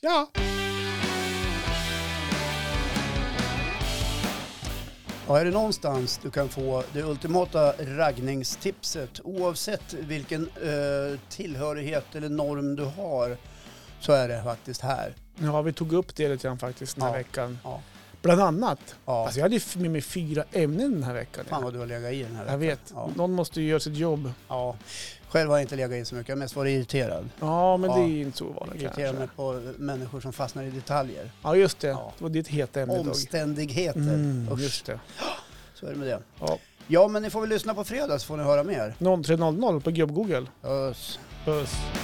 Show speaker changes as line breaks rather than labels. Ja.
Ja, är det någonstans du kan få det ultimata raggningstipset oavsett vilken eh, tillhörighet eller norm du har så är det faktiskt här.
Ja, vi tog upp det lite grann faktiskt den här
Ja.
veckan.
Ja.
Bland annat.
Ja,
Alltså jag hade ju f- med mig fyra ämnen den här veckan.
fan vad du har legat i den här.
jag vet.
Ja.
Någon måste ju göra sitt jobb.
Ja. Själv har jag inte legat i så mycket, jag har mest varit irriterad.
Ja, men
Ja.
det är ju inte så vanligt
Irriterar mig
kanske.
på människor som fastnar i detaljer.
Ja, just det.
Ja.
Det var ditt heta ämne idag.
Omständigheter.
Mm,
Usch,
just det.
Så är det med det.
Ja.
Ja, men ni får väl lyssna på fredag så får ni höra mer.
03.00 på gubb-Google.
Ös.
Puss.